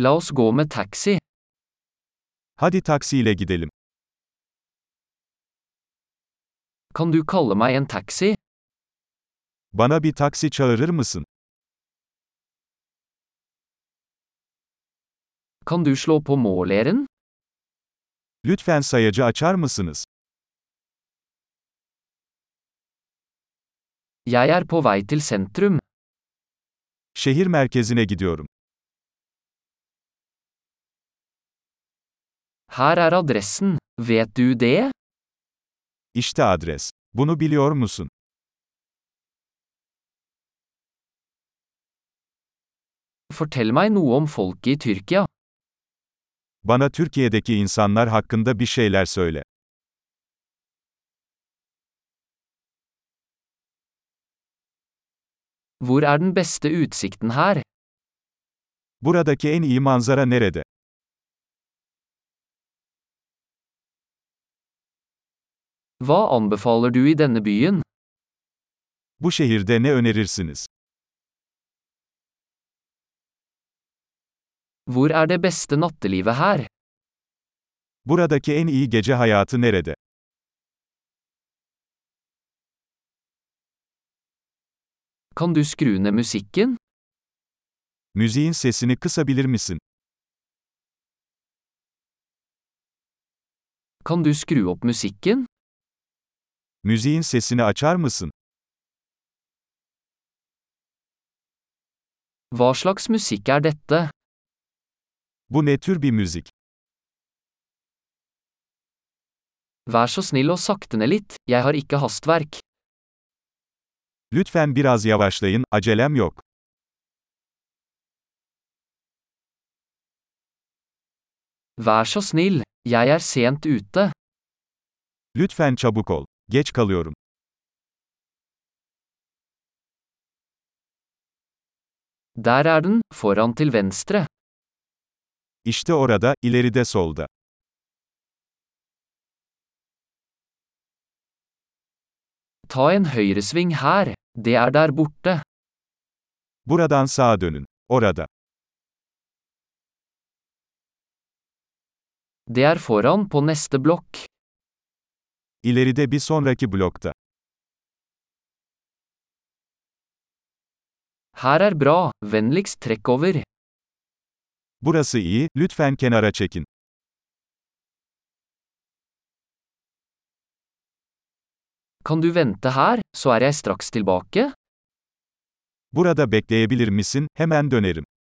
La oss gå med taxi. Hadi taksiyle gidelim. Kan du kalle meg en taxi? Bana bir taksi çağırır mısın? Kan du slå på måleren? Lütfen sayacı açar mısınız? Jeg er på vei til sentrum. Şehir merkezine gidiyorum. Her er adressen. Vet du det? İşte adres. Bunu biliyor musun? Fortell meg noe om folket i Tyrkia. Bana Türkiye'deki insanlar hakkında bir şeyler söyle. Hvor er den beste utsikten her? Buradaki en iyi manzara nerede? Hva anbefaler du i denne byen? Bu şehirde ne önerirsiniz? Hvor er det beste nattelivet her? Buradaki en iyi gece hayatı nerede? Kan du skru ned musikken? Müziğin sesini kısabilir misin? Kan du skru opp musikken? Müziğin sesini açar mısın? Hva slags musikk er dette? Bu ne tür bir müzik? Vær så snill og sakte ned litt, jeg har ikke hastverk. Lütfen biraz yavaşlayın, acelem yok. Vær så snill, jeg er sent ute. Lütfen çabuk ol. Geç kalıyorum. Der er den, foran til venstre. İşte orada, ileride solda. Ta en høyresving her, det er der borte. Buradan sağa dönün. Orada. Det er foran på neste blokk. İleride bir sonraki blokta. Her er bra, vennligst trekk over. Burası iyi, lütfen kenara çekin. Kan du vente her, så er jeg straks tilbake? Burada bekleyebilir misin? Hemen dönerim.